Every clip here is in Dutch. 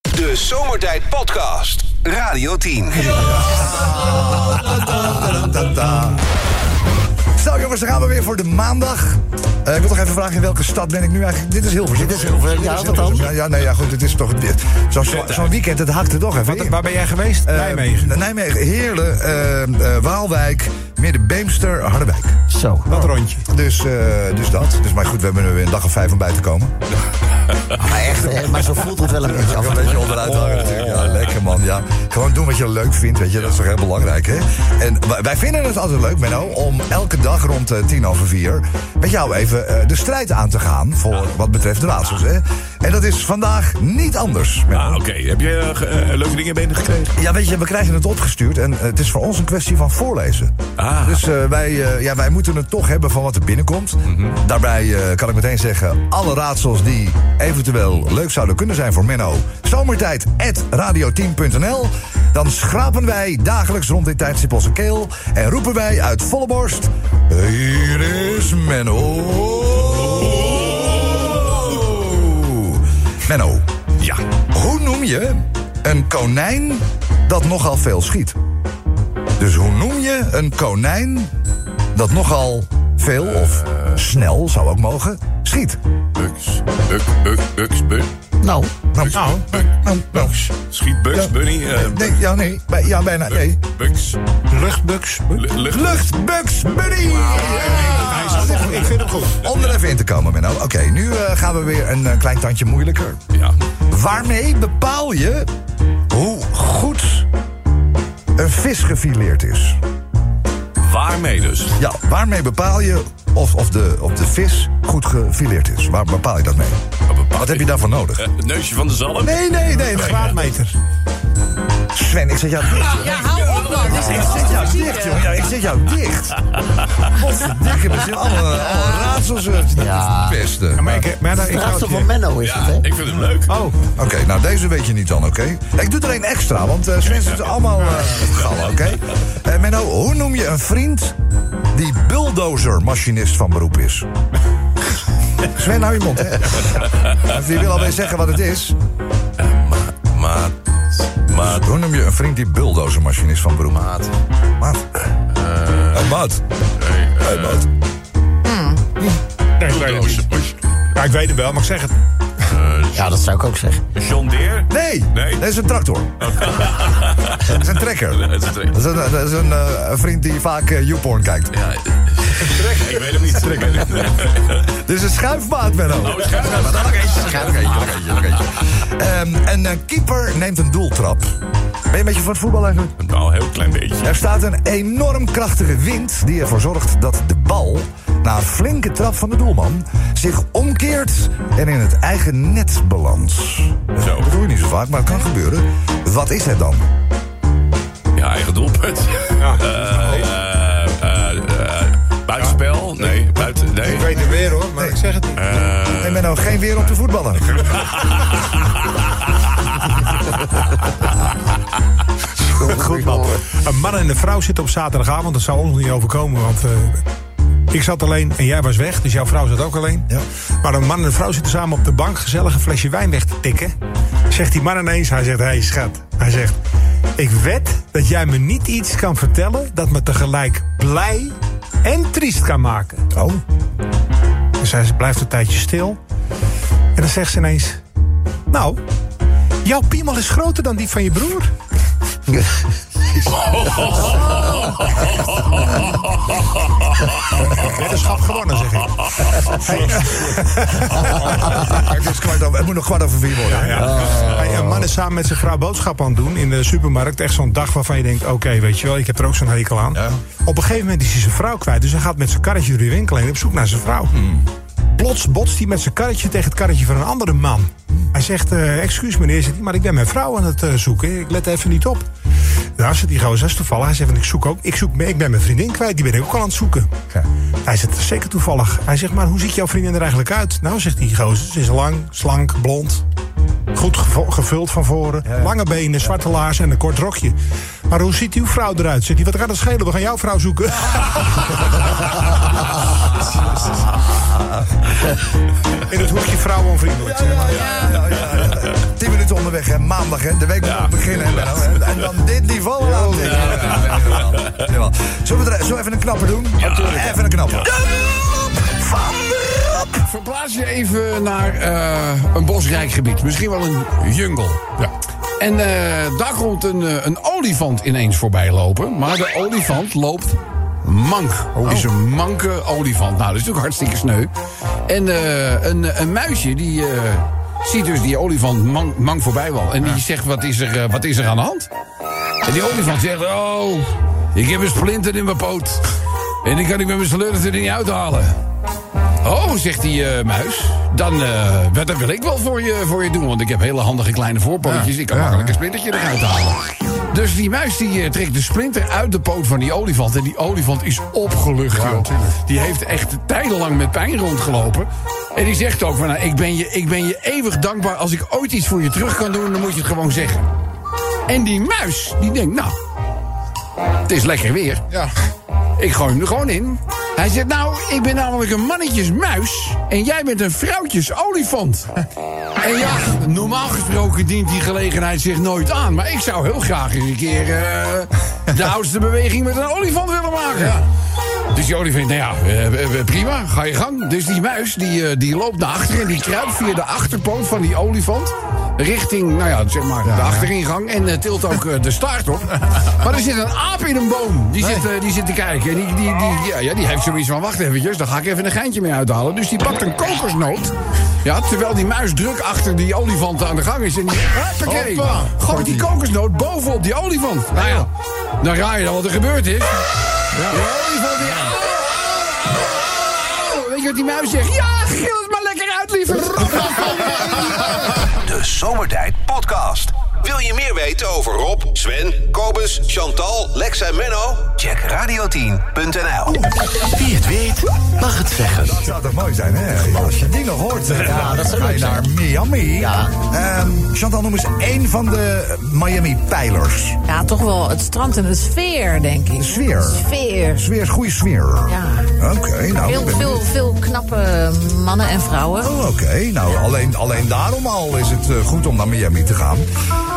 De Zomertijd Podcast. Radio 10. Zo jongens, dan gaan we weer voor de maandag. Eh, ik wil toch even vragen in welke stad ben ik nu eigenlijk? Dit is Hilversum. Dit is Hilversum, ja, wat dan? Ja, ja, nee, ja, goed, dit is toch... dit- zo- zo- Zo'n weekend, het hakte toch even in. Waar ben jij geweest? Eh, Nijmegen. Nijmegen, Heerlen, eh, eh, Waalwijk, Middenbeemster, Harderwijk. Zo. Dat rondje. Dus, eh, dus dat. Dus, maar goed, we hebben er weer een dag of vijf om bij te komen. Maar echt, eh, maar zo voelt het wel een beetje Ja, af. Oh. een beetje onderuit hangen natuurlijk. Ja, lekker man. Ja. Gewoon doen wat je leuk vindt, weet je. Dat is toch heel belangrijk, hè? En w- wij vinden het altijd leuk, Menno, om elke dag rond eh, tien over vier... met jou even eh, de strijd aan te gaan voor wat betreft de raadsels, hè? En dat is vandaag niet anders, Menno. Ah, oké. Heb je eh, ge- eh, leuke dingen binnen gekregen? Ja, weet je, we krijgen het opgestuurd en eh, het is voor ons een kwestie van voorlezen. Ah. Dus eh, wij, eh, ja, wij moeten het toch hebben van wat er binnenkomt. Daarbij eh, kan ik meteen zeggen, alle raadsels die eventueel leuk zouden kunnen zijn voor Menno... zomertijd.radio10.nl Dan schrapen wij dagelijks rond dit tijdstip onze keel... en roepen wij uit volle borst... Hier is Menno! Menno. Ja. Hoe noem je een konijn dat nogal veel schiet? Dus hoe noem je een konijn dat nogal veel of snel zou ook mogen schiet? Bugs. Buk, buk, bugs, buk. Nou, Nou, Nou, nou, nou. Bugs. Schiet Bugs Ja. Bunny. eh, Nee, ja, nee, bij- ja, bijna, nee. Bugs. luchtbuks. Lu- Lucht. Luchtbugs Bunny! Hij is goed. Ik vind hem goed. Om er even in te komen, Menno. Oké, nu eh, gaan we weer een eh, klein tandje moeilijker. Ja. Waarmee bepaal je hoe goed een vis gefileerd is? Waarmee dus? Ja, waarmee bepaal je of, of, de, of de vis goed gefileerd is? Waar bepaal je dat mee? Wat heb je daarvoor nodig? Eh, Het neusje van de zalm? Nee, nee, nee. nee. Kwaadmeter. Sven, ik zet jou dicht. joh. Ja, hou op dan. Dit is Ik echt zet jou onvoorzichtig. dicht, joh. Ja, ik zet jou dicht. Potverdikke, dat zijn alle, alle raadsels. eh, Ja. Het beste. Maar Maar- ik, maar dan, ik raadsel hou van het Menno is Ja, het, hè? ik vind hem leuk. Oh, Oké, nou deze weet je niet dan, oké? Ik doe er een extra, want eh Sven zit allemaal eh gallen, oké? Eh, Menno, hoe noem je een vriend die bulldozer-machinist van beroep is? Sven, hou je mond, hè? Of je wil alweer zeggen wat het is. Maat. Maat. Hoe noem je een vriend die bulldozer-machinist van beroep is? Maat. Maat. Eh. Hey, maat. Nee. eh, Hey, maat. nee, ik weet het niet. Doosjes. Ja, ik weet het wel, maar ik zeg het. Ja, dat zou ik ook zeggen. John Deere? Nee, Nee. dat is een tractor. dat is een trekker. Het is een trek. Dat is een, dat is een eh, vriend die vaak eh, YouPorn kijkt. Ja. Ik weet hem niet. Ik weet hem niet. Dit is Dus een schuifmaat, Menno. Oh, schuif, schuif, schuif. Schuif, oké, oké, oké, oké. Ehm, Een eh, keeper neemt een doeltrap. Ben je een beetje van het voetbal eigenlijk? Nou, een heel klein beetje. Er staat een enorm krachtige wind die ervoor zorgt dat de bal... na een flinke trap van de doelman zich omkeert en in het eigen net belandt. Zo. Dat doe je niet zo vaak, maar het kan gebeuren. Wat is het dan? Ja, eigen doelpunt. Ja. Eh, eh, eh, eh, Buitenspel? Nee, buiten. Nee. Ik weet het weer hoor, maar ik zeg het niet. Eh. Nee, Menno, geen weer om te voetballen. Goed, man. Een man en een vrouw zitten op zaterdagavond. Dat zou ons niet overkomen, want eh, ik zat alleen en jij was weg. Dus jouw vrouw zat ook alleen. Ja. Maar een man en een vrouw zitten samen op de bank gezellig een flesje wijn weg te tikken. Zegt die man ineens, hij zegt, hé hey, schat. Hij zegt, ik wed dat jij me niet iets kan vertellen... dat me tegelijk blij en triest kan maken. Oh, Dus hij blijft een tijdje stil. En dan zegt ze ineens... Nou, jouw piemel is groter dan die van je broer. Weddenschap gewonnen, zeg ik. het, is dus kwart over, het moet nog kwart over vier worden. Ja. Hey, een man is samen met zijn vrouw boodschap aan het doen in de supermarkt. Echt zo'n dag waarvan je denkt, oké, weet je wel, ik heb er ook zo'n hekel aan. Op een gegeven moment is hij zijn vrouw kwijt. Dus hij gaat met zijn karretje door die winkel heen op zoek naar zijn vrouw. Plots botst hij met zijn karretje tegen het karretje van een andere man. Hij zegt, eh, excuus meneer, zegt hij, maar ik ben mijn vrouw aan het eh, zoeken. Ik let even niet op. Daar zit die gozer, dat is toevallig. Hij zegt, van, ik zoek ook, ik, zoek, ik ben mijn vriendin kwijt, die ben ik ook al aan het zoeken. Ja. Hij zegt, dat is zeker toevallig. Hij zegt, maar hoe ziet jouw vriendin er eigenlijk uit? Nou, zegt die gozer, ze is lang, slank, blond. Goed gevo- gevuld van voren. Lange benen, zwarte laarzen en een kort rokje. Maar hoe ziet uw vrouw eruit? Zegt hij, wat gaat het schelen? We gaan jouw vrouw zoeken. In het hoekje vrouwen onvriendelijk. zeg maar. Ja, ja, ja. 10 minuten onderweg, hè? maandag, hè? de week moet Ja. nog beginnen. hè, Benno, hè? En dan dit niveau aan. Zullen we er- zullen we even een knapper doen? even een knapper. Van de Rob. Verplaats je even naar eh, een bosrijk gebied. Misschien wel een jungle. Ja. En eh, daar komt een, eh, een olifant ineens voorbij lopen. Maar de olifant loopt mank. Het is een manke olifant. Nou, dat is natuurlijk hartstikke sneu. En eh, een, een muisje die... eh, Ziet dus die olifant mank, mank voorbij wel. En die zegt, wat is, er, eh, wat is er aan de hand? En die olifant zegt, oh, ik heb een splinter in mijn poot. En ik kan ik met mijn slurf er niet uithalen. Oh, zegt die eh, muis. Dan, eh wat- dat wil ik wel voor je, voor je doen. Want ik heb hele handige kleine voorpootjes. ik kan makkelijk een splintertje eruit halen. Dus die muis die eh, trekt de splinter uit de poot van die olifant. En die olifant is opgelucht, joh. Die heeft echt tijdenlang met pijn rondgelopen. En die zegt ook van, nou, ik, ben je, ik ben je eeuwig dankbaar. Als ik ooit iets voor je terug kan doen, dan moet je het gewoon zeggen. En die muis, die denkt, nou, het is lekker weer. Ik gooi hem er gewoon in. Hij zegt, nou, ik ben namelijk een mannetjesmuis en jij bent een vrouwtjesolifant. En ja, normaal gesproken dient die gelegenheid zich nooit aan. Maar ik zou heel graag eens een keer eh, de oudste beweging met een olifant willen maken. Dus die olifant, nou ja, eh, eh, prima, ga je gang. Dus die muis, die, eh, die loopt naar achteren en die kruipt via de achterpoot van die olifant... richting, nou ja, zeg maar, de achteringang en eh, tilt ook eh, de staart op. Maar er zit een aap in een boom, die, zit, eh, die zit te kijken. En die, die, die, ja, ja, die heeft zoiets van, wacht eventjes, daar ga ik even een geintje mee uithalen. Dus die pakt een kokosnoot, ja, terwijl die muis druk achter die olifant aan de gang is. En die, huppakee, gooit die kokosnoot bovenop die olifant. Nou ja, dan ga je dan wat er gebeurd is. Die olifant die... Oh, Weet je wat die muis zegt? Ja, gil het maar lekker uit, liever. De Zomertijd Podcast. Wil je meer weten over Rob, Sven, Kobus, Chantal, Lex en Menno? Check radio10.nl. Wie het weet, mag het zeggen. Dat zou toch mooi zijn, hè? Als je die nog hoort, eh, dan dat zou ga leuk je zijn. naar Miami. Ja. Ehm, Chantal, noem eens één van de Miami-pijlers. Ja, toch wel het strand en de sfeer, denk ik. Sfeer. Sfeer. Sfeer is goede sfeer. Ja. Oké, nou... ik Veel, ben veel, veel knappe mannen en vrouwen. Oh, Oké, nou alleen, alleen daarom al is het eh, goed om naar Miami te gaan.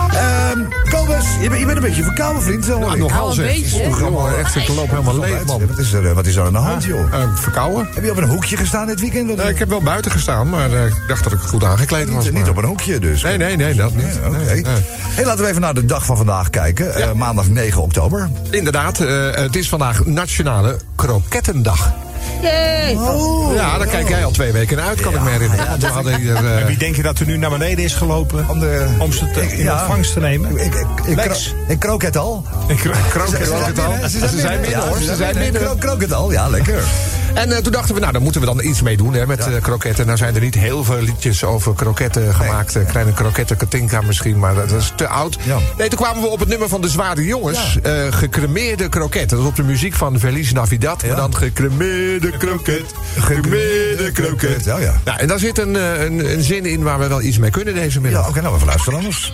Ehm Kobus, je, bent- je bent een beetje verkouden, vriend. eh, hoor ik. Nou, een beetje. Het programma echt, ik loop helemaal leeg, man. Wat is er, eh, wat is er aan de hand, joh? Eh, verkouden? Heb je op een hoekje gestaan dit weekend? Eh, ik heb wel buiten gestaan, maar eh, ik dacht dat ik goed aangekleed was. niet, maar- niet op een hoekje, dus. Nee, nee, nee, dat niet. Ja, Oké. Nee, nee. Hey, laten we even naar de dag van vandaag kijken. Eh, maandag 9 oktober. Inderdaad, eh, het is vandaag Nationale Krokettendag. Jee. ja, daar kijk jij al twee weken naar uit, kan ik me herinneren. We hadden hier, eh, Wie denk je dat er nu naar beneden is gelopen Om om, de- ze te, Ik- in ja. ontvangst te nemen? Ik, ik, ik, Lex. kro- ik krook het al. Ik krook Ze- ze zijn binnen, Ze zijn binnen, ja, hoor, ze zijn binnen. Ik krook- krook het al, ja, lekker. en eh, toen dachten we, nou, daar moeten we dan iets mee doen hè, met eh, kroketten. Nou zijn er niet heel veel liedjes over kroketten gemaakt. Eh, Kleine kroketten, Katinka misschien, maar dat is te oud. Ja. Nee, toen kwamen we op het nummer van de zware jongens. eh, gecremeerde kroketten. Dat is op de muziek van Feliz Navidad. Maar dan gecremeerde kroket, gecremeerde kroket. Ja, ja. Nou, en daar zit een, eh, een, een zin in waar we wel iets mee kunnen deze Ja, middag. oké, nou, even luisteren anders.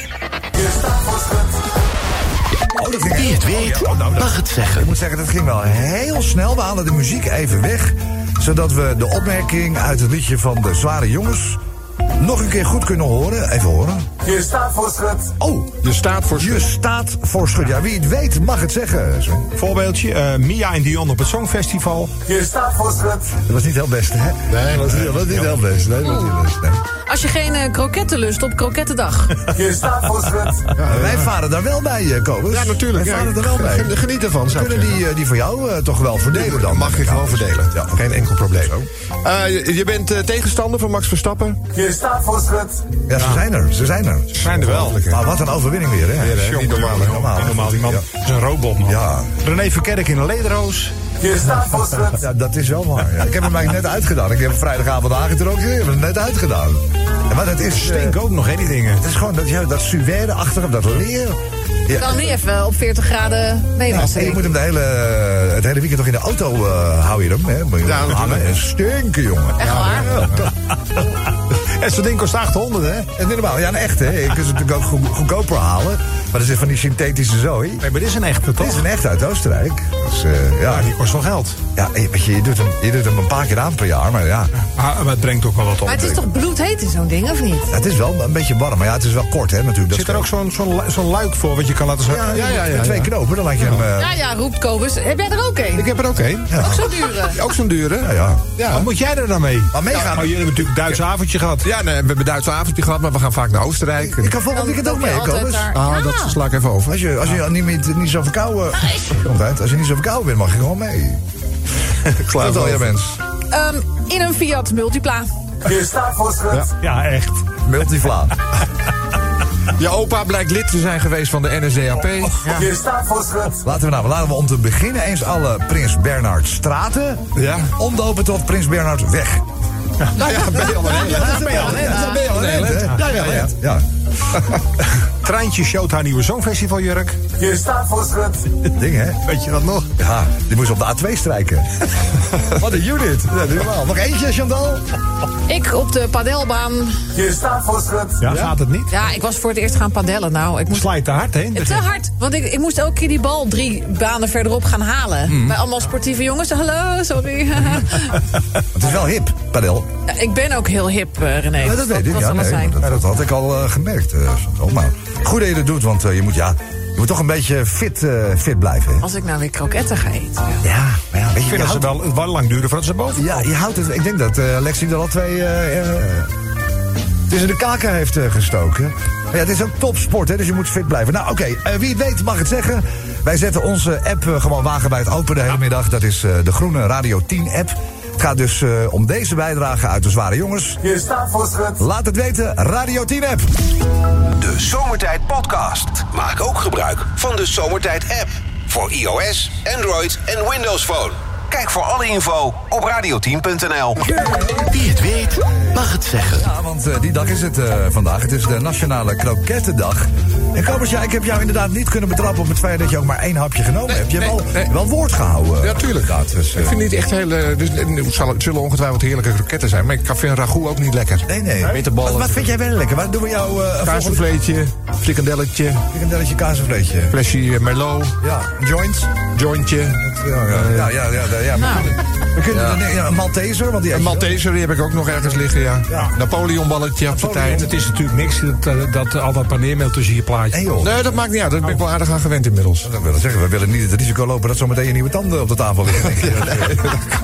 Oh, dat ging Wie het echt- weet, oh, ja, oh, nou, dat- mag het Ik zeggen. moet zeggen, dat ging wel heel snel. We halen de muziek even weg. Zodat we de opmerking uit het liedje van de zware jongens... nog een keer goed kunnen horen. Even horen. Je staat voor schut. Oh, Je staat voor je staat voor schut. Ja, wie het weet mag het zeggen. Zo. Voorbeeldje, eh, Mia en Dion op het Songfestival. Je staat voor schut. Dat was niet heel best, hè? Nee, dat was niet, dat was niet heel best. Nee, dat was niet best. nee. Als je geen eh, kroketten lust op krokettendag. Je staat voor schut. Maar Nou, wij varen daar wel bij, eh, Kobus. Ja, natuurlijk. Wij Ja, varen er wel bij. gen- geniet ervan, zou ik Kunnen die, eh, die voor jou eh, toch wel verdelen dan? Mag je gewoon verdelen. Ja. Geen enkel probleem. Eh, je, je bent eh, tegenstander van Max Verstappen. Je staat voor schut. Ja, ze zijn er. Ze zijn er. Zijn er wel. Maar wat een overwinning weer, hè? Weer, hè? Jongen, Niet normaal, hè? normaal. Niet normaal, die man Ja. is een robot, man. Ja. René Verkerk in de lederoos. Je staat voor schut. Ja, dat is wel waar. ja. Ik heb hem eigenlijk net uitgedaan. Ik heb hem vrijdagavond aangetrokken. Ik heb hem net uitgedaan. En Maar dat is... eh, Stink ook nog, hè, die dingen. het is gewoon dat, ja, dat suède achter hem, dat leer. Ja. Kan niet even op 40 graden meewassen. En je denk moet ik. hem de hele, het hele weekend toch in de auto eh, hou je hem. Hè? Moet je Ja, hem hangen en stinken, jongen. Echt waar? Ja, dat- En zo'n ding kost 800, hè? En dit normaal, ja, een echte. hè. Je kunt ze natuurlijk ook goed- goedkoper halen. Maar dat is van die synthetische zooi. Nee, maar dit is een echte, Dit is toch? een echt uit Oostenrijk. Dus, eh, ja, Ja, die kost wel geld. ja je, weet je, je doet hem, je doet hem een paar keer aan per jaar, maar ja. Ah, Maar, maar het brengt ook wel wat op. Maar het is toch bloedheet in zo'n ding, of niet? Ja, Het is wel een beetje warm, maar ja, het is wel kort, hè, natuurlijk. Dat Zit er ook scheelt. zo'n zo'n lu- zo'n luik voor wat je kan laten Ja, zakken? ja, ja, ja, twee knopen, dan laat je hem... eh, Ja, ja, roept Kobus. Heb jij er ook een? Ik heb er ook één. Ook zo'n dure. Ook zo'n dure. ja, ja. Wat Ja. moet jij er dan mee? Maar meegaan- Ja, maar jullie hebben natuurlijk Duits avondje gehad. Ja, nee, we hebben Duitse avondje gehad, maar we gaan vaak naar Oostenrijk. Ik kan volgend weekend ook loop je mee, altijd Kobus. daar. Ah, dat Ja. sla ik even over. Als je, als je niet, meer- niet zo verkouden... Gezondheid, als je niet zo verkouden bent, mag je gewoon mee. Klaar al je mens. Ehm, in een Fiat Multipla. Gefahrversritt. Ja, echt. Multivla. Je opa blijkt lid te zijn geweest van de NSDAP. Gefahrversritt. Laten we nou, laten we om te beginnen eens alle Prins Bernhard straten Ja. omdopen tot Prins Bernhard weg. Nou ja, ben je al een hele- Dat ben je al, Dat ben je al, Ja, hè? ja, ja, ja. Ja, Treintje showt haar nieuwe Songfestival jurk. Gefahrversritt. ding hè? Weet je dat nog? Ja, die moest op de A2 strijken. Wat een unit. Ja, dat is normaal. Nog eentje, Chantal? Ik op de padelbaan. Gefahrversritt. Ja, gaat het niet? Ja, ik was voor het eerst gaan padellen. Nou, ik moest Slijt te hard heen. Eh, Te hard, want ik, ik moest elke keer die bal drie banen verderop gaan halen. Hmm. Bij allemaal sportieve jongens. Hallo, sorry. Het is wel hip, padel. Ja, ik ben ook heel hip, eh, René. Ja, dat weet ik. zal Ja, wel nee, zijn. dat, dat had ik al eh, gemerkt. eh, Chantal. maar goed dat je dat doet, want eh, je, moet, ja, je moet toch een beetje fit, eh, fit blijven. Hè? Als ik nou weer kroketten ga eten. ja. Ja, maar ja, weet je, Ik vind je dat ze houdt- wel, het wel lang duren voordat ze boven. Ja, je houdt het. Ik denk dat eh Lexi er al twee. eh, eh, tussen de kaken heeft eh, gestoken. Maar ja, het is ook topsport, hè, dus je moet fit blijven. Nou, oké, eh, wie het weet mag het zeggen. Wij zetten onze app eh, gewoon wagenwijd open de hele middag. Dat is eh, de groene Radio 10-app. Het gaat dus eh, om deze bijdrage uit de Zware Jongens. Gefahrversritt. Laat het weten, Radio 10-app. De Zomertijd Podcast. Maak ook gebruik van de Zomertijd app. Voor iOS, Android en Windows Phone. Kijk voor alle info op radioteam.nl. Wie het weet, mag het zeggen. Ja, want eh, die dag is het eh, vandaag. Het is de Nationale Krokettendag. En Kobus, ja, ik heb jou inderdaad niet kunnen betrappen op het feit dat je ook maar één hapje genomen hebt. Je hebt nee, wel, nee. wel woord gehouden. Ja, tuurlijk. inderdaad. Dus, eh, Ik vind niet echt heel. eh, Dus, eh, het zal- het zullen ongetwijfeld heerlijke kroketten zijn, maar ik vind ragout ook niet lekker. Nee, nee. Bitterballen. Wat, wat vind jij wel lekker? Waar doen we jou eh volgende Kaasvleetje, frikandelletje, frikandelletje, kaas en vleesje? flesje eh, merlot, Ja, een joint. jointje. Ja, ja, ja. ja, ja, ja, ja. Nou. We kunnen er nee, ja, een Malteser, want die Een Malteser, die heb ik ook nog ergens liggen, ja. Ja. Napoleonballetje op En zijn tijd. het is natuurlijk niks dat, eh, dat al dat paneermeel tussen je plaatje. Nee joh. Nee, dat maakt niet uit. Daar ben ik wel aardig aan gewend inmiddels. Dat wil ik zeggen, we willen niet het risico lopen dat zometeen je nieuwe tanden op de tafel liggen.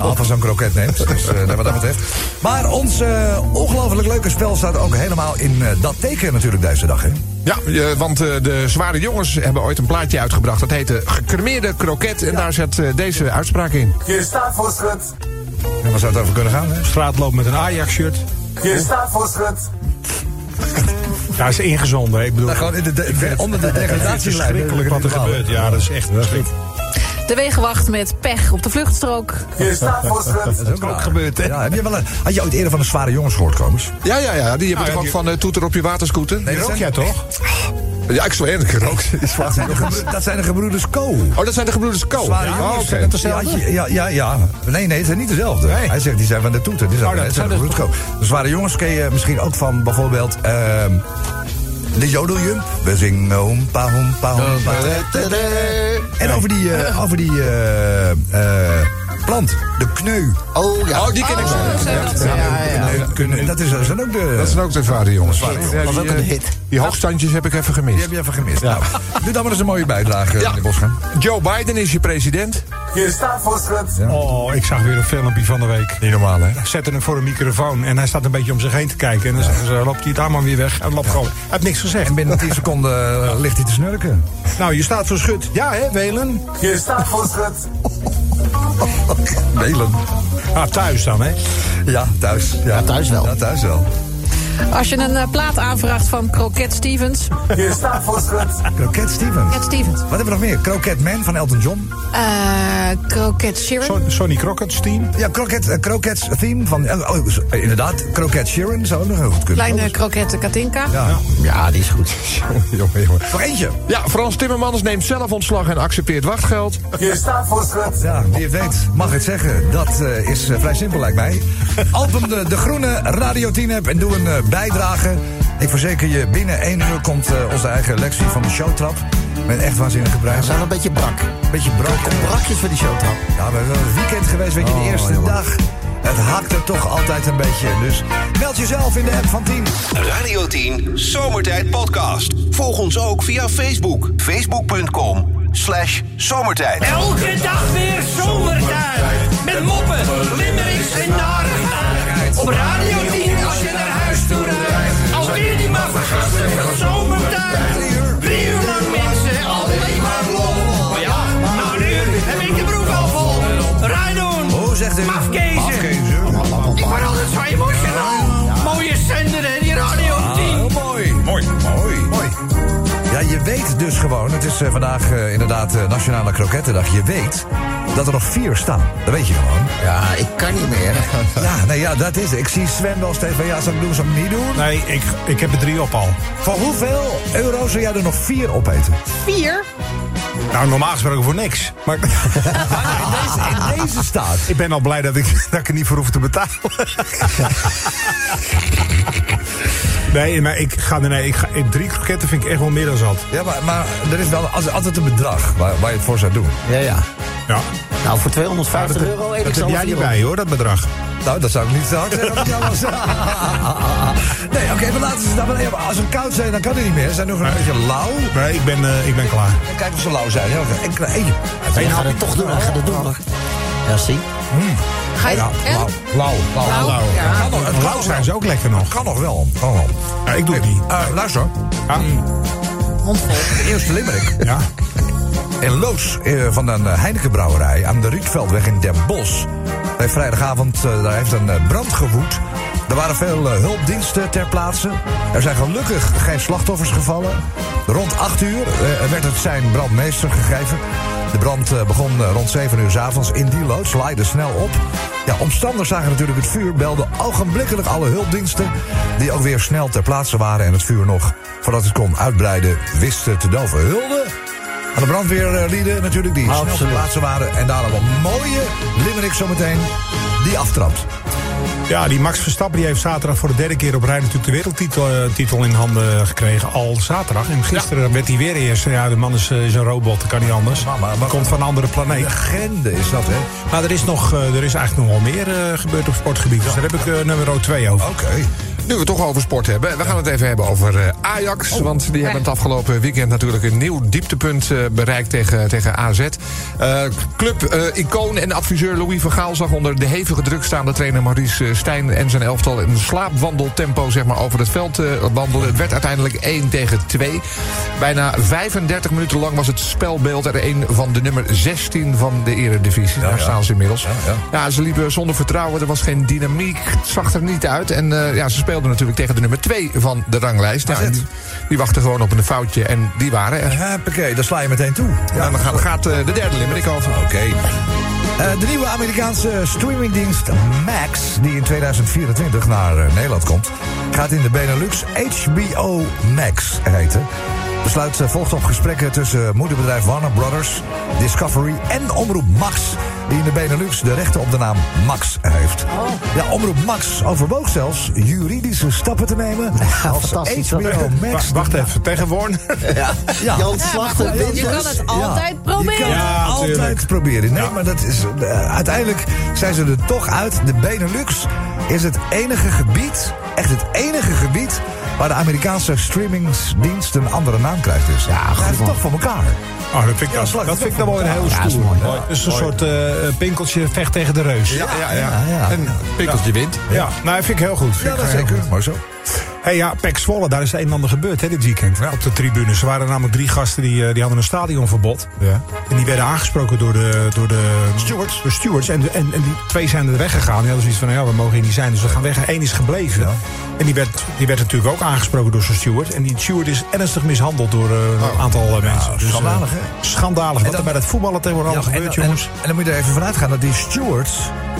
Al van zo'n kroket neemt, dus eh, nee, wat dat betreft. Maar ons eh, ongelooflijk leuke spel staat ook helemaal in eh, dat teken natuurlijk deze dag, hè? Ja, eh, want eh, de zware jongens hebben ooit een plaatje uitgebracht. Dat heette Gecremeerde Kroket. En daar zit eh, deze uitspraak in. Gefahrversritt. En waar zou het over kunnen gaan, hè? Straat loopt met een Ajax-shirt. Gefahrversritt. Ja, is ingezonden. hè. Ik bedoel, Nou, gewoon in de, de- onder de het is degradatielijn. verschrikkelijk wat er gebeurt. Ja, dat is echt verschrikkelijk. De wegenwacht met pech op de vluchtstrook. Gefahrversritt. Dat is ook raar. Ja, heb je wel een, had je ooit eerder van een zware jongens gehoord, Komers? Ja, ja, ja. Die hebben toch ook van eh, toeter op je waterscooter? Nee, Rook jij toch? Ja, ik zweer het gerookt. Dat zijn de gebro- Dat zijn de gebroeders Co. Oh, dat zijn de gebroeders Ko. Zware Ja, jongens, oké. zijn dat dezelfde? Oh, Ja, ja, ja, ja. Nee, nee, het zijn niet dezelfde. Hij zegt, die zijn van de toeter. Die zijn, Oh, dat het zijn de zijn gebroeders Co. De zware jongens ken je misschien ook van bijvoorbeeld... ehm, de jodeljump. We zingen hompa, hompa, hompa. En over die, eh, over die eh, eh, plant, de kneu. Oh ja. Oh, die ken ik Oh, wel. zo zijn dat. Ja, ja, ja. Dat is, dat zijn ook de... Dat zijn ook de zware jongens. Zware jongens. Ja, Was die, ook een eh, hit. Die hoogstandjes heb ik even die gemist. heb je even gemist. Nou, doe dan maar eens een mooie bijdrage, meneer Bosgaan. Joe Biden is je president. Gefahrversritt. Oh, ik zag weer een filmpje van de week. Niet normaal, hè? Zette hem voor een microfoon en hij staat een beetje om zich heen te kijken. En dan zeggen ze, loopt hij daar maar weer weg. En loopt gewoon. Hij heeft niks gezegd. En binnen 10 seconden eh, ligt hij te snurken. Nou, je staat voor schut. Ja, hè, Welen? Gefahrversritt. Belen. Ah, thuis dan, hè? Ja, thuis. Ja, thuis wel. Ja, thuis wel. Als je een eh, plaat aanvraagt van Kroket Stevens. Gefahrversritt. Kroket Stevens. Kroket Stevens. Wat hebben we nog meer? Kroket Man van Elton John. Eh Kroket Sheeran. Son- Sonny Crockett's team. Ja, Kroket, eh, Kroket's Theme van... eh, Oh, eh, inderdaad, Kroket Sharon zou ook nog heel goed kunnen. Kleine kroketten Katinka. Ja. Ja, die is goed. Jongen, jongen. Nog eentje. Ja, Frans Timmermans neemt zelf ontslag en accepteert wachtgeld. Gefahrversritt. Ja, wie het weet mag het zeggen. Dat eh, is eh, vrij simpel, lijkt mij. Alpen de, de Groene Radio 10 app en doe een eh, bijdrage. Ik verzeker je, binnen één uur komt eh, onze eigen Lexi van de showtrap. Met echt waanzinnige prijzen. We zijn een beetje brak. Beetje brak. brakjes voor die showtrap. Oh, Ja, we hebben een weekend geweest, weet je, de eerste dag. Het hakt er toch altijd een beetje. Dus meld jezelf in de app van 10. Radio 10 Zomertijd Podcast. Volg ons ook via Facebook. Facebook.com slash zomertijd. Elke dag weer zomertijd. Met moppen, limmerings en narigheid. Op Radio 10 als je naar huis toe rijdt. Alweer die maffergasten van zomertijd. Drie uur lang mensen, alleen maar lol. Maar ja, nou nu heb ik de broek al vol. Rijdoen. Hoe zegt u? Mafkezen. Ik word altijd zo emotional. Mooie zender hè, die Radio 10. Ah, mooi. Mooi. Mooi. Mooi. Ja, je weet dus gewoon, het is eh, vandaag eh, inderdaad eh, Nationale Krokettendag. Je weet dat er nog vier staan. Dat weet je gewoon. Ja, ik kan niet meer. ja, nee, ja, dat is het. Ik zie Sven wel steeds van, ja, zou ik doen, zou ik niet doen? Nee, ik, ik heb er drie op al. Voor hoeveel euro zou jij er nog vier opeten? Vier? Nou, normaal gesproken voor niks. Maar in, deze, staat. Ik ben al blij dat ik, dat ik er niet voor hoef te betalen. nee, maar ik ga, nee, ik ga ik, drie kroketten vind ik echt wel meer dan zat. Ja, maar, maar er is wel als- altijd een bedrag waar, waar je het voor zou doen. Ja, ja. Ja. Nou, voor 250 Ja, dat- euro eet dat ik heb zo jij niet bij, hoor, dat bedrag. Nou, dat zou ik niet te hard zeggen. als ik jou was. nee, oké, maar laten ze dan even. Als ze koud zijn, dan kan het niet meer. Ze zijn nog een beetje lauw. Nee, ik ben, eh, ik ben klaar. Kijk of ze lauw zijn. Ja, oké. En klein. Ik ga het toch doen, ik ga het doen. hoor. Ja, zie. Ga je- en? Lauw, lauw, lauw. Lauw, ja. Kan nog, het Blauw kan zijn ze ook lekker nog. Kan nog wel. Kan nog wel. Ja, ik doe het niet. Eh, luister. Ah. De eerste limerick. Ja. In Loos eh, van een eh, Heinekenbrouwerij aan de Rietveldweg in Den Bosch. Bij vrijdagavond eh, daar heeft een eh, brand gewoed. Er waren veel eh, hulpdiensten ter plaatse. Er zijn gelukkig geen slachtoffers gevallen. Rond 8 uur eh, werd het zijn brandmeester gegeven. De brand eh, begon eh, rond 7 uur s avonds in die loods, laaide snel op. Ja, omstanders zagen natuurlijk het vuur, belden ogenblikkelijk alle hulpdiensten... die ook weer snel ter plaatse waren en het vuur nog, voordat het kon uitbreiden, wisten te doven. Hulde aan de brandweerlieden natuurlijk die snel ter plaatse waren. En daarom een mooie limerick zometeen die aftrapt. Ja, die Max Verstappen die heeft zaterdag voor de derde keer op rij natuurlijk de wereldtitel eh, titel in handen gekregen. Al zaterdag. En gisteren werd hij weer eerst. Ja, de man is, eh, is een robot, dat kan niet anders. Komt van een andere planeet. Legende is dat, hè? Maar er is, nog, eh, er is eigenlijk nog wel meer eh, gebeurd op sportgebied. Dus daar heb ik eh, nummer 2 over. Oké. Nu we het toch over sport hebben, we gaan het even hebben over eh, Ajax. Oh. want die hebben het afgelopen weekend natuurlijk een nieuw dieptepunt eh, bereikt tegen, tegen AZ. Eh, club, eh, icoon en adviseur Louis van Gaal zag onder de hevige druk staande trainer Maurice eh, Stijn en zijn elftal in slaapwandeltempo zeg maar, over het veld eh, wandelen. Het werd uiteindelijk 1 tegen 2. Bijna 35 minuten lang was het spelbeeld er een van de nummer 16 van de Eredivisie. Daar ja. staan ze inmiddels. ja. Ja, ze liepen zonder vertrouwen. Er was geen dynamiek. Het zag er niet uit. En eh, ja, ze speelden natuurlijk tegen de nummer 2 van de ranglijst. Nou, en die, die wachten gewoon op een foutje. En die waren er. Huppakee, daar sla je meteen toe. Ja, dan gaat, gaat eh, de derde limerick over. Oké. Eh, de nieuwe Amerikaanse streamingdienst Max, die in 2024 naar eh, Nederland komt, gaat in de Benelux HBO Max heten. Besluit eh, volgt op gesprekken tussen moederbedrijf Warner Brothers, Discovery en Omroep Max, die in de Benelux de rechten op de naam Max heeft. Oh. Ja, Omroep Max overwoog zelfs juridische stappen te nemen als fantastisch, HBO wat- Max. Wa- Wacht even, tegen Warner. Ja. Jan Ja, maar Slachter. goed, je kan het altijd proberen. Je kan Ja, het altijd tuurlijk. proberen. Nee, maar dat is, eh, uiteindelijk zijn ze er toch uit. De Benelux is het enige gebied, echt het enige gebied... waar de Amerikaanse streamingsdienst een andere naam krijgt. Dus ja, dat is toch voor elkaar. Oh, dat vind ik, Ja, dat, slag, dat dat vind ik dan wel weer heel Ja, dat is stoer. mooi. Het is een soort eh, pinkeltje vecht tegen de reus. Ja, ja, ja. En pikkeltje wint. nou, dat vind ik heel goed. Vind Ja, ik dat heel zeker. goed. eh, Mooi zo. Hey, ja, Pek Zwolle, daar is een en ander gebeurd hè, dit weekend. Op de tribunes. Er waren namelijk drie gasten die, eh, die hadden een stadionverbod. Ja. En die werden aangesproken door de, door de stewards. De stewards. En, en, en die twee zijn er weggegaan. Die hadden zoiets van, nou ja, we mogen hier niet zijn, dus we gaan weg. Eén is gebleven. En die werd, die werd natuurlijk ook aangesproken door zo'n steward. En die steward is ernstig mishandeld door eh, een aantal eh, mensen. Dus, eh, Oh. schandalig, hè? Schandalig. Wat er bij dat voetballen tegenwoordig allemaal en, gebeurt, jongens. en dan moet je er even vanuit gaan dat die stewards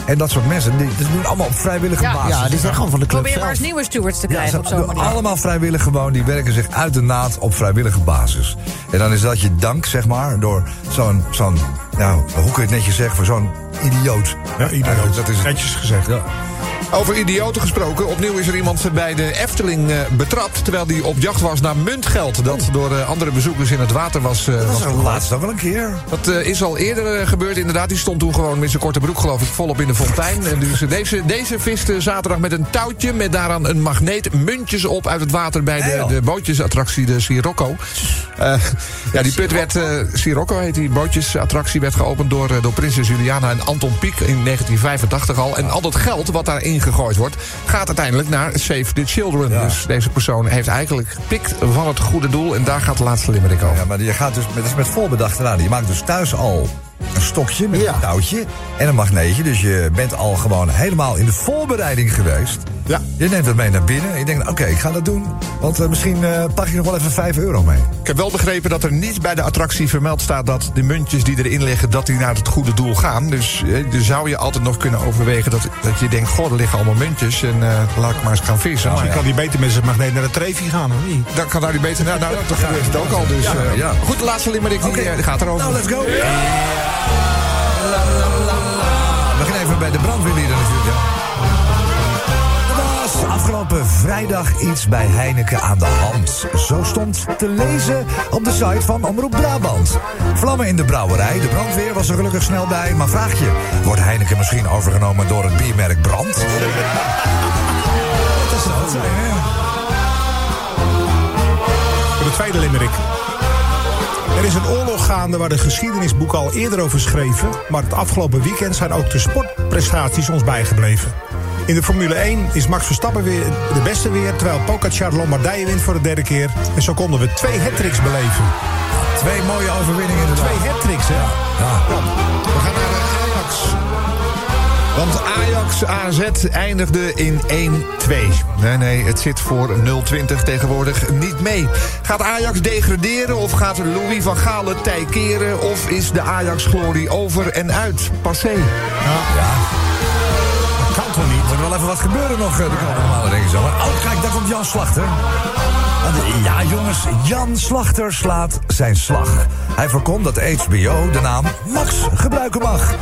en dat soort mensen... Die, dat doen allemaal op vrijwillige Ja. basis. Ja, die zijn gewoon van de club Probeer maar zelf. eens nieuwe stewards te Ja, krijgen ze op zo'n doen manier. allemaal vrijwillig gewoon. Die werken zich uit de naad op vrijwillige basis. En dan is dat je dank, zeg maar, door zo'n... zo'n nou, hoe kun je het netjes zeggen? Voor zo'n idioot. Ja, iedereen. Eigenlijk, Dat is het. Netjes gezegd. Ja. Over idioten gesproken. Opnieuw is er iemand bij de Efteling eh, betrapt... terwijl die op jacht was naar muntgeld... dat door eh, andere bezoekers in het water was eh, Dat was was er laatst ook wel een keer. dat eh, is al eerder eh, gebeurd, inderdaad. Die stond toen gewoon met zijn korte broek, geloof ik, volop in de fontein. En dus eh, deze, deze viste zaterdag met een touwtje met daaraan een magneet muntjes op uit het water bij de, de bootjesattractie, de Sirocco. Eh, ja, die put werd, eh, Sirocco heet die bootjesattractie, werd geopend door, eh, door prinses Juliana en Anton Pieck in 1985 al. En al dat geld wat daarin gegooid wordt, gaat uiteindelijk naar Save the Children. Dus deze persoon heeft eigenlijk gepikt van het goede doel. En daar gaat de laatste limerick over. Ja, maar je gaat dus met, dat is met voorbedachte raden. Je maakt dus thuis al een stokje met een touwtje en een magneetje. Dus je bent al gewoon helemaal in de voorbereiding geweest. Ja. Je neemt dat mee naar binnen. En je denkt, oké, ik ga dat doen. Want eh, misschien eh, pak je nog wel even 5 euro mee. Ik heb wel begrepen dat er niet bij de attractie vermeld staat dat de muntjes die erin liggen, dat die naar het goede doel gaan. Dus eh, dan zou je altijd nog kunnen overwegen dat, dat je denkt, goh, er liggen allemaal muntjes en eh, laat ik maar eens gaan vissen. Misschien Oh, kan die beter met zijn magneet naar de Trevi gaan, of niet? Dan kan daar die beter naar. Nou, dat gebeurt het ook al. Dus, Ja, eh, ja. Goed, de laatste limerick die, eh, die gaat erover. Nou, let's go. We gaan even bij de brandweerlieden natuurlijk. Er was Afgelopen vrijdag iets bij Heineken aan de hand. Zo stond te lezen op de site van Omroep Brabant. Vlammen in de brouwerij, de brandweer was er gelukkig snel bij. Maar vraag je, wordt Heineken misschien overgenomen door het biermerk Brand? Dat is dat, hè? De tweede limerick. Er is een oorlog gaande waar de geschiedenisboeken al eerder over schreven. Maar het afgelopen weekend zijn ook de sportprestaties ons bijgebleven. In de Formule 1 is Max Verstappen weer de beste weer. Terwijl Pogacar Lombardije wint voor de derde keer. En zo konden we twee hat beleven. Twee mooie overwinningen inderdaad. Twee hat hè? We gaan naar eh, Ajax. Want Ajax AZ eindigde in 1-2. Nee, nee, het zit voor 0-20 tegenwoordig niet mee. Gaat Ajax degraderen of gaat Louis van Gaal het tij keren... of is de Ajax-glorie over en uit? Passé. Dat kan toch niet? Moet er wel even wat gebeuren nog eh, de komende maanden, denk ik zo. Maar, oh, kijk, daar komt Jan Slachter. Want, Ja, jongens, Jan Slachter slaat zijn slag. Hij voorkomt dat HBO de naam Max gebruiken mag.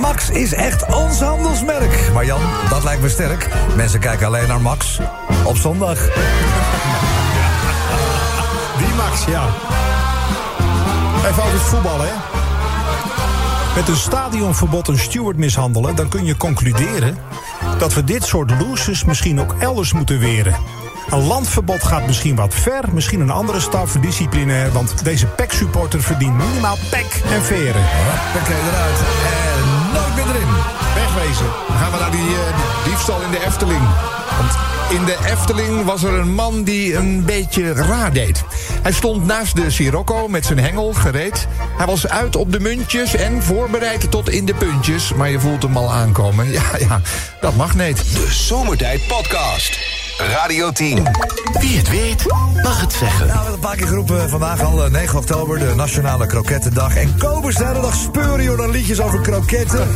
Max is echt ons handelsmerk. Maar Jan, dat lijkt me sterk. Mensen kijken alleen naar Max op zondag. Die Max, ja. Even over het voetbal, hè. Met een stadionverbod een steward mishandelen... dan kun je concluderen dat we dit soort losers misschien ook elders moeten weren. Een landverbod gaat misschien wat ver, misschien een andere staf, disciplinair... want deze PEC-supporter verdient minimaal pek en veren. Oké, eruit. En nooit meer erin. Wegwezen. Dan gaan we naar die eh, diefstal in de Efteling. Want in de Efteling was er een man die een beetje raar deed. Hij stond naast de Sirocco met zijn hengel gereed. Hij was uit op de muntjes en voorbereid tot in de puntjes. Maar je voelt hem al aankomen. Ja, ja, dat mag niet. De Zomertijd Podcast. Radio 10. Wie het weet, mag het zeggen. Nou, we hebben een paar keer geroepen vandaag al, eh, 9 oktober, de Nationale Krokettendag. En kobers de hele dag speuren, joh, naar liedjes over kroketten.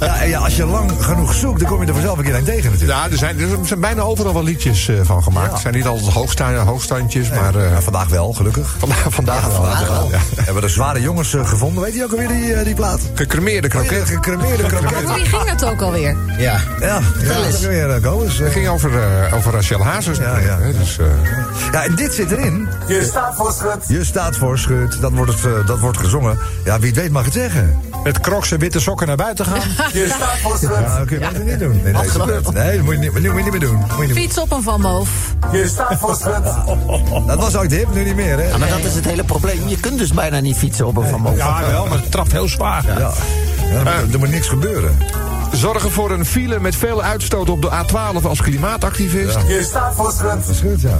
ja, en ja, als je lang genoeg zoekt, dan kom je er vanzelf een keer aan tegen natuurlijk. Ja, er zijn, er zijn bijna overal wel liedjes eh, van gemaakt. Het zijn niet altijd hoogsta- hoogstandjes, maar eh, Maar vandaag wel, gelukkig. vandaag, vandaag wel. Ja. We hebben de zware jongens eh, gevonden. Weet je ook alweer die, eh, die plaat? Gecremeerde De kroket. gecremeerde Over kroketten. wie ging dat ook alweer? Ja. Ja, ja, dat is weer eh, Kobus. Het eh. ging over, eh, over Rachel Hazes. Ja, ja. hè, Dus, eh, Ja, en dit zit erin. Je staat voor schut. Je staat voor schut, dat wordt, het, eh, dat wordt gezongen. Ja, wie het weet mag het zeggen. Met crocs en witte sokken naar buiten gaan. Je staat voor schut. Nou, kun je beter niet doen. Nee, nee, dat- nee, dat moet je niet, moet je niet meer doen. Moet je niet meer Fiets op en van Moof. Je staat voor schut. doen. Dat was ook de hip, nu niet meer, hè? Ja, maar dat is het hele probleem. Je kunt dus bijna niet fietsen op een Van Moof. Ja, Ah, wel, maar het trapt heel zwaar. Ja. Ja, er moet- er moet niks gebeuren. Zorgen voor een file met veel uitstoot op de A12 als klimaatactivist. Je staat voor schut. Dat is goed, ja.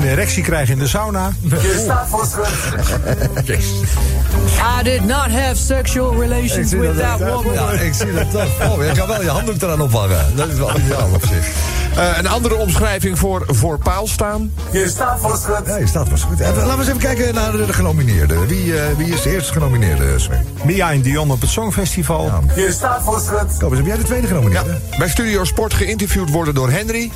Een erectie krijgen in de sauna. Je staat voor schut. I did not have sexual relations with that woman. Ja, ik zie dat toch. Oh, je kan wel je handdoek eraan ophangen. Dat is wel ideaal op zich. Eh, een andere omschrijving voor voor paal staan. Je staat voor schut. Nee, staat was goed. Even- laten we eens even kijken naar de genomineerden. Wie, eh, wie is de eerste genomineerde, Sven? Mia en Dion op het Songfestival. Je staat voor schut. Kom eens, heb jij de tweede Ja. genomineerde? Bij Studio Sport geïnterviewd worden door Henry.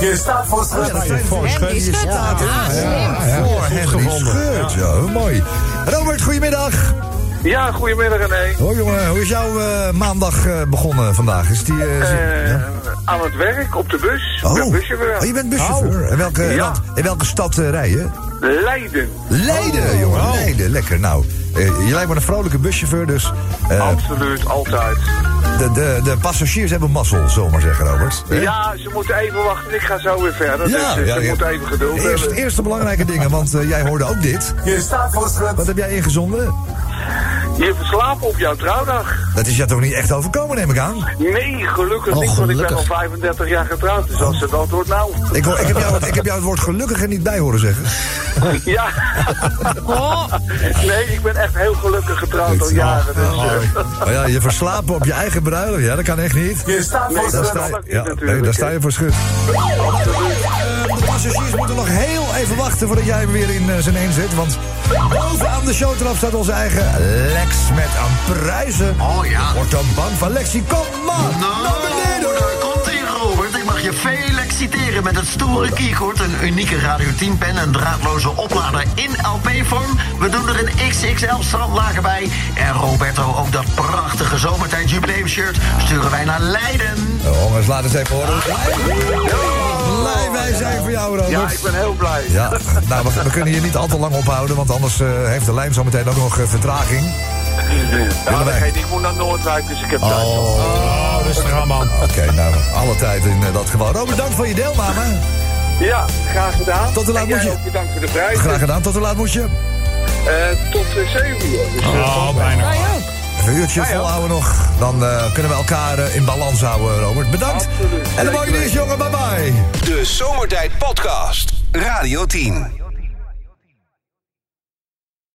Je staat voor schut. Voor En die schut. schudt Ah, Ah, Ja, ja, ja, Voor Henry Scheurt, ja, mooi. Robert, goedemiddag. Ja, goedemiddag René. Hoi jongen, hoe is jouw eh, maandag eh, begonnen vandaag? Is die, eh, zin- Eh, ja? Aan het werk, op de bus. Ik ben buschauffeur. Oh, je bent buschauffeur. Oh. In, welke, Ja. land- in welke stad eh, rij je? Leiden. Leiden, Oh, jongen. Leiden, lekker. Nou, eh, je lijkt me een vrolijke buschauffeur, dus... eh, Nou. Absoluut, altijd. de, de, de passagiers hebben mazzel, zullen we maar zeggen, Robert. Hè? Ja, ze moeten even wachten. Ik ga zo weer verder. dus eh, ze ja. moeten even geduld Eerst, hebben. eerste belangrijke dingen, want eh, jij hoorde ook dit. Je staat voor schut. Wat heb jij ingezonden? Je verslaapt op jouw trouwdag. Dat is jou toch niet echt overkomen, neem ik aan? Nee, gelukkig Oh, niet, want ik ben al 35 jaar getrouwd. Dus als het antwoord nou. Ik, hoor- ik, heb jou, het- ik heb jou het woord gelukkig er niet bij horen zeggen. Ja. Oh. Nee, ik ben echt heel gelukkig getrouwd al jaren. Dus, eh, Maar ja, je verslapen op je eigen bruiloft, ja, dat kan echt niet. Je staat voor daar schut. sta, Dat mag niet ja, natuurlijk, nee, daar hè. sta je voor schut. Eh, De passagiers moeten nog heel even wachten voordat jij hem weer in eh, zijn een zit. Want bovenaan de showtrap staat onze eigen Lex met aan prijzen. Oh ja. Wordt dan bang van Lexi, kom maar naar beneden. Komt in, Robert. Ik mag je veel exciteren met het stoere keycord, een unieke Radio 10 pen, een draadloze oplader in LP-vorm. We doen er een XXL strandlager bij. En Roberto, ook dat prachtige zomertijd jubileum shirt sturen wij naar Leiden. Jongens, laat eens even horen. Blij wij zijn voor jou, Robert. Ja, ik ben heel blij. Ja, nou, we, we kunnen je niet al te lang ophouden, want anders eh, heeft de lijn zo meteen ook nog eh, vertraging. Nou, dat geeft niet. ik moet naar Noordwijk, dus ik heb tijd. Oh, rustig aan, man. Oké, nou, alle tijd in eh, dat geval. Robert, dank voor je deelname. Ja, graag gedaan. Tot de laat En jij moet je. ook bedankt voor de prijs. Graag gedaan, tot hoe laat moet je? Eh, tot eh, 7 uur. Oh. Dus, eh, tot- Wij ook. Even een uurtje volhouden nog. Dan eh, kunnen we elkaar eh, in balans houden, Robert. Bedankt. En de mooie is, jongen. Bye-bye. De Zomertijd Podcast. Radio 10.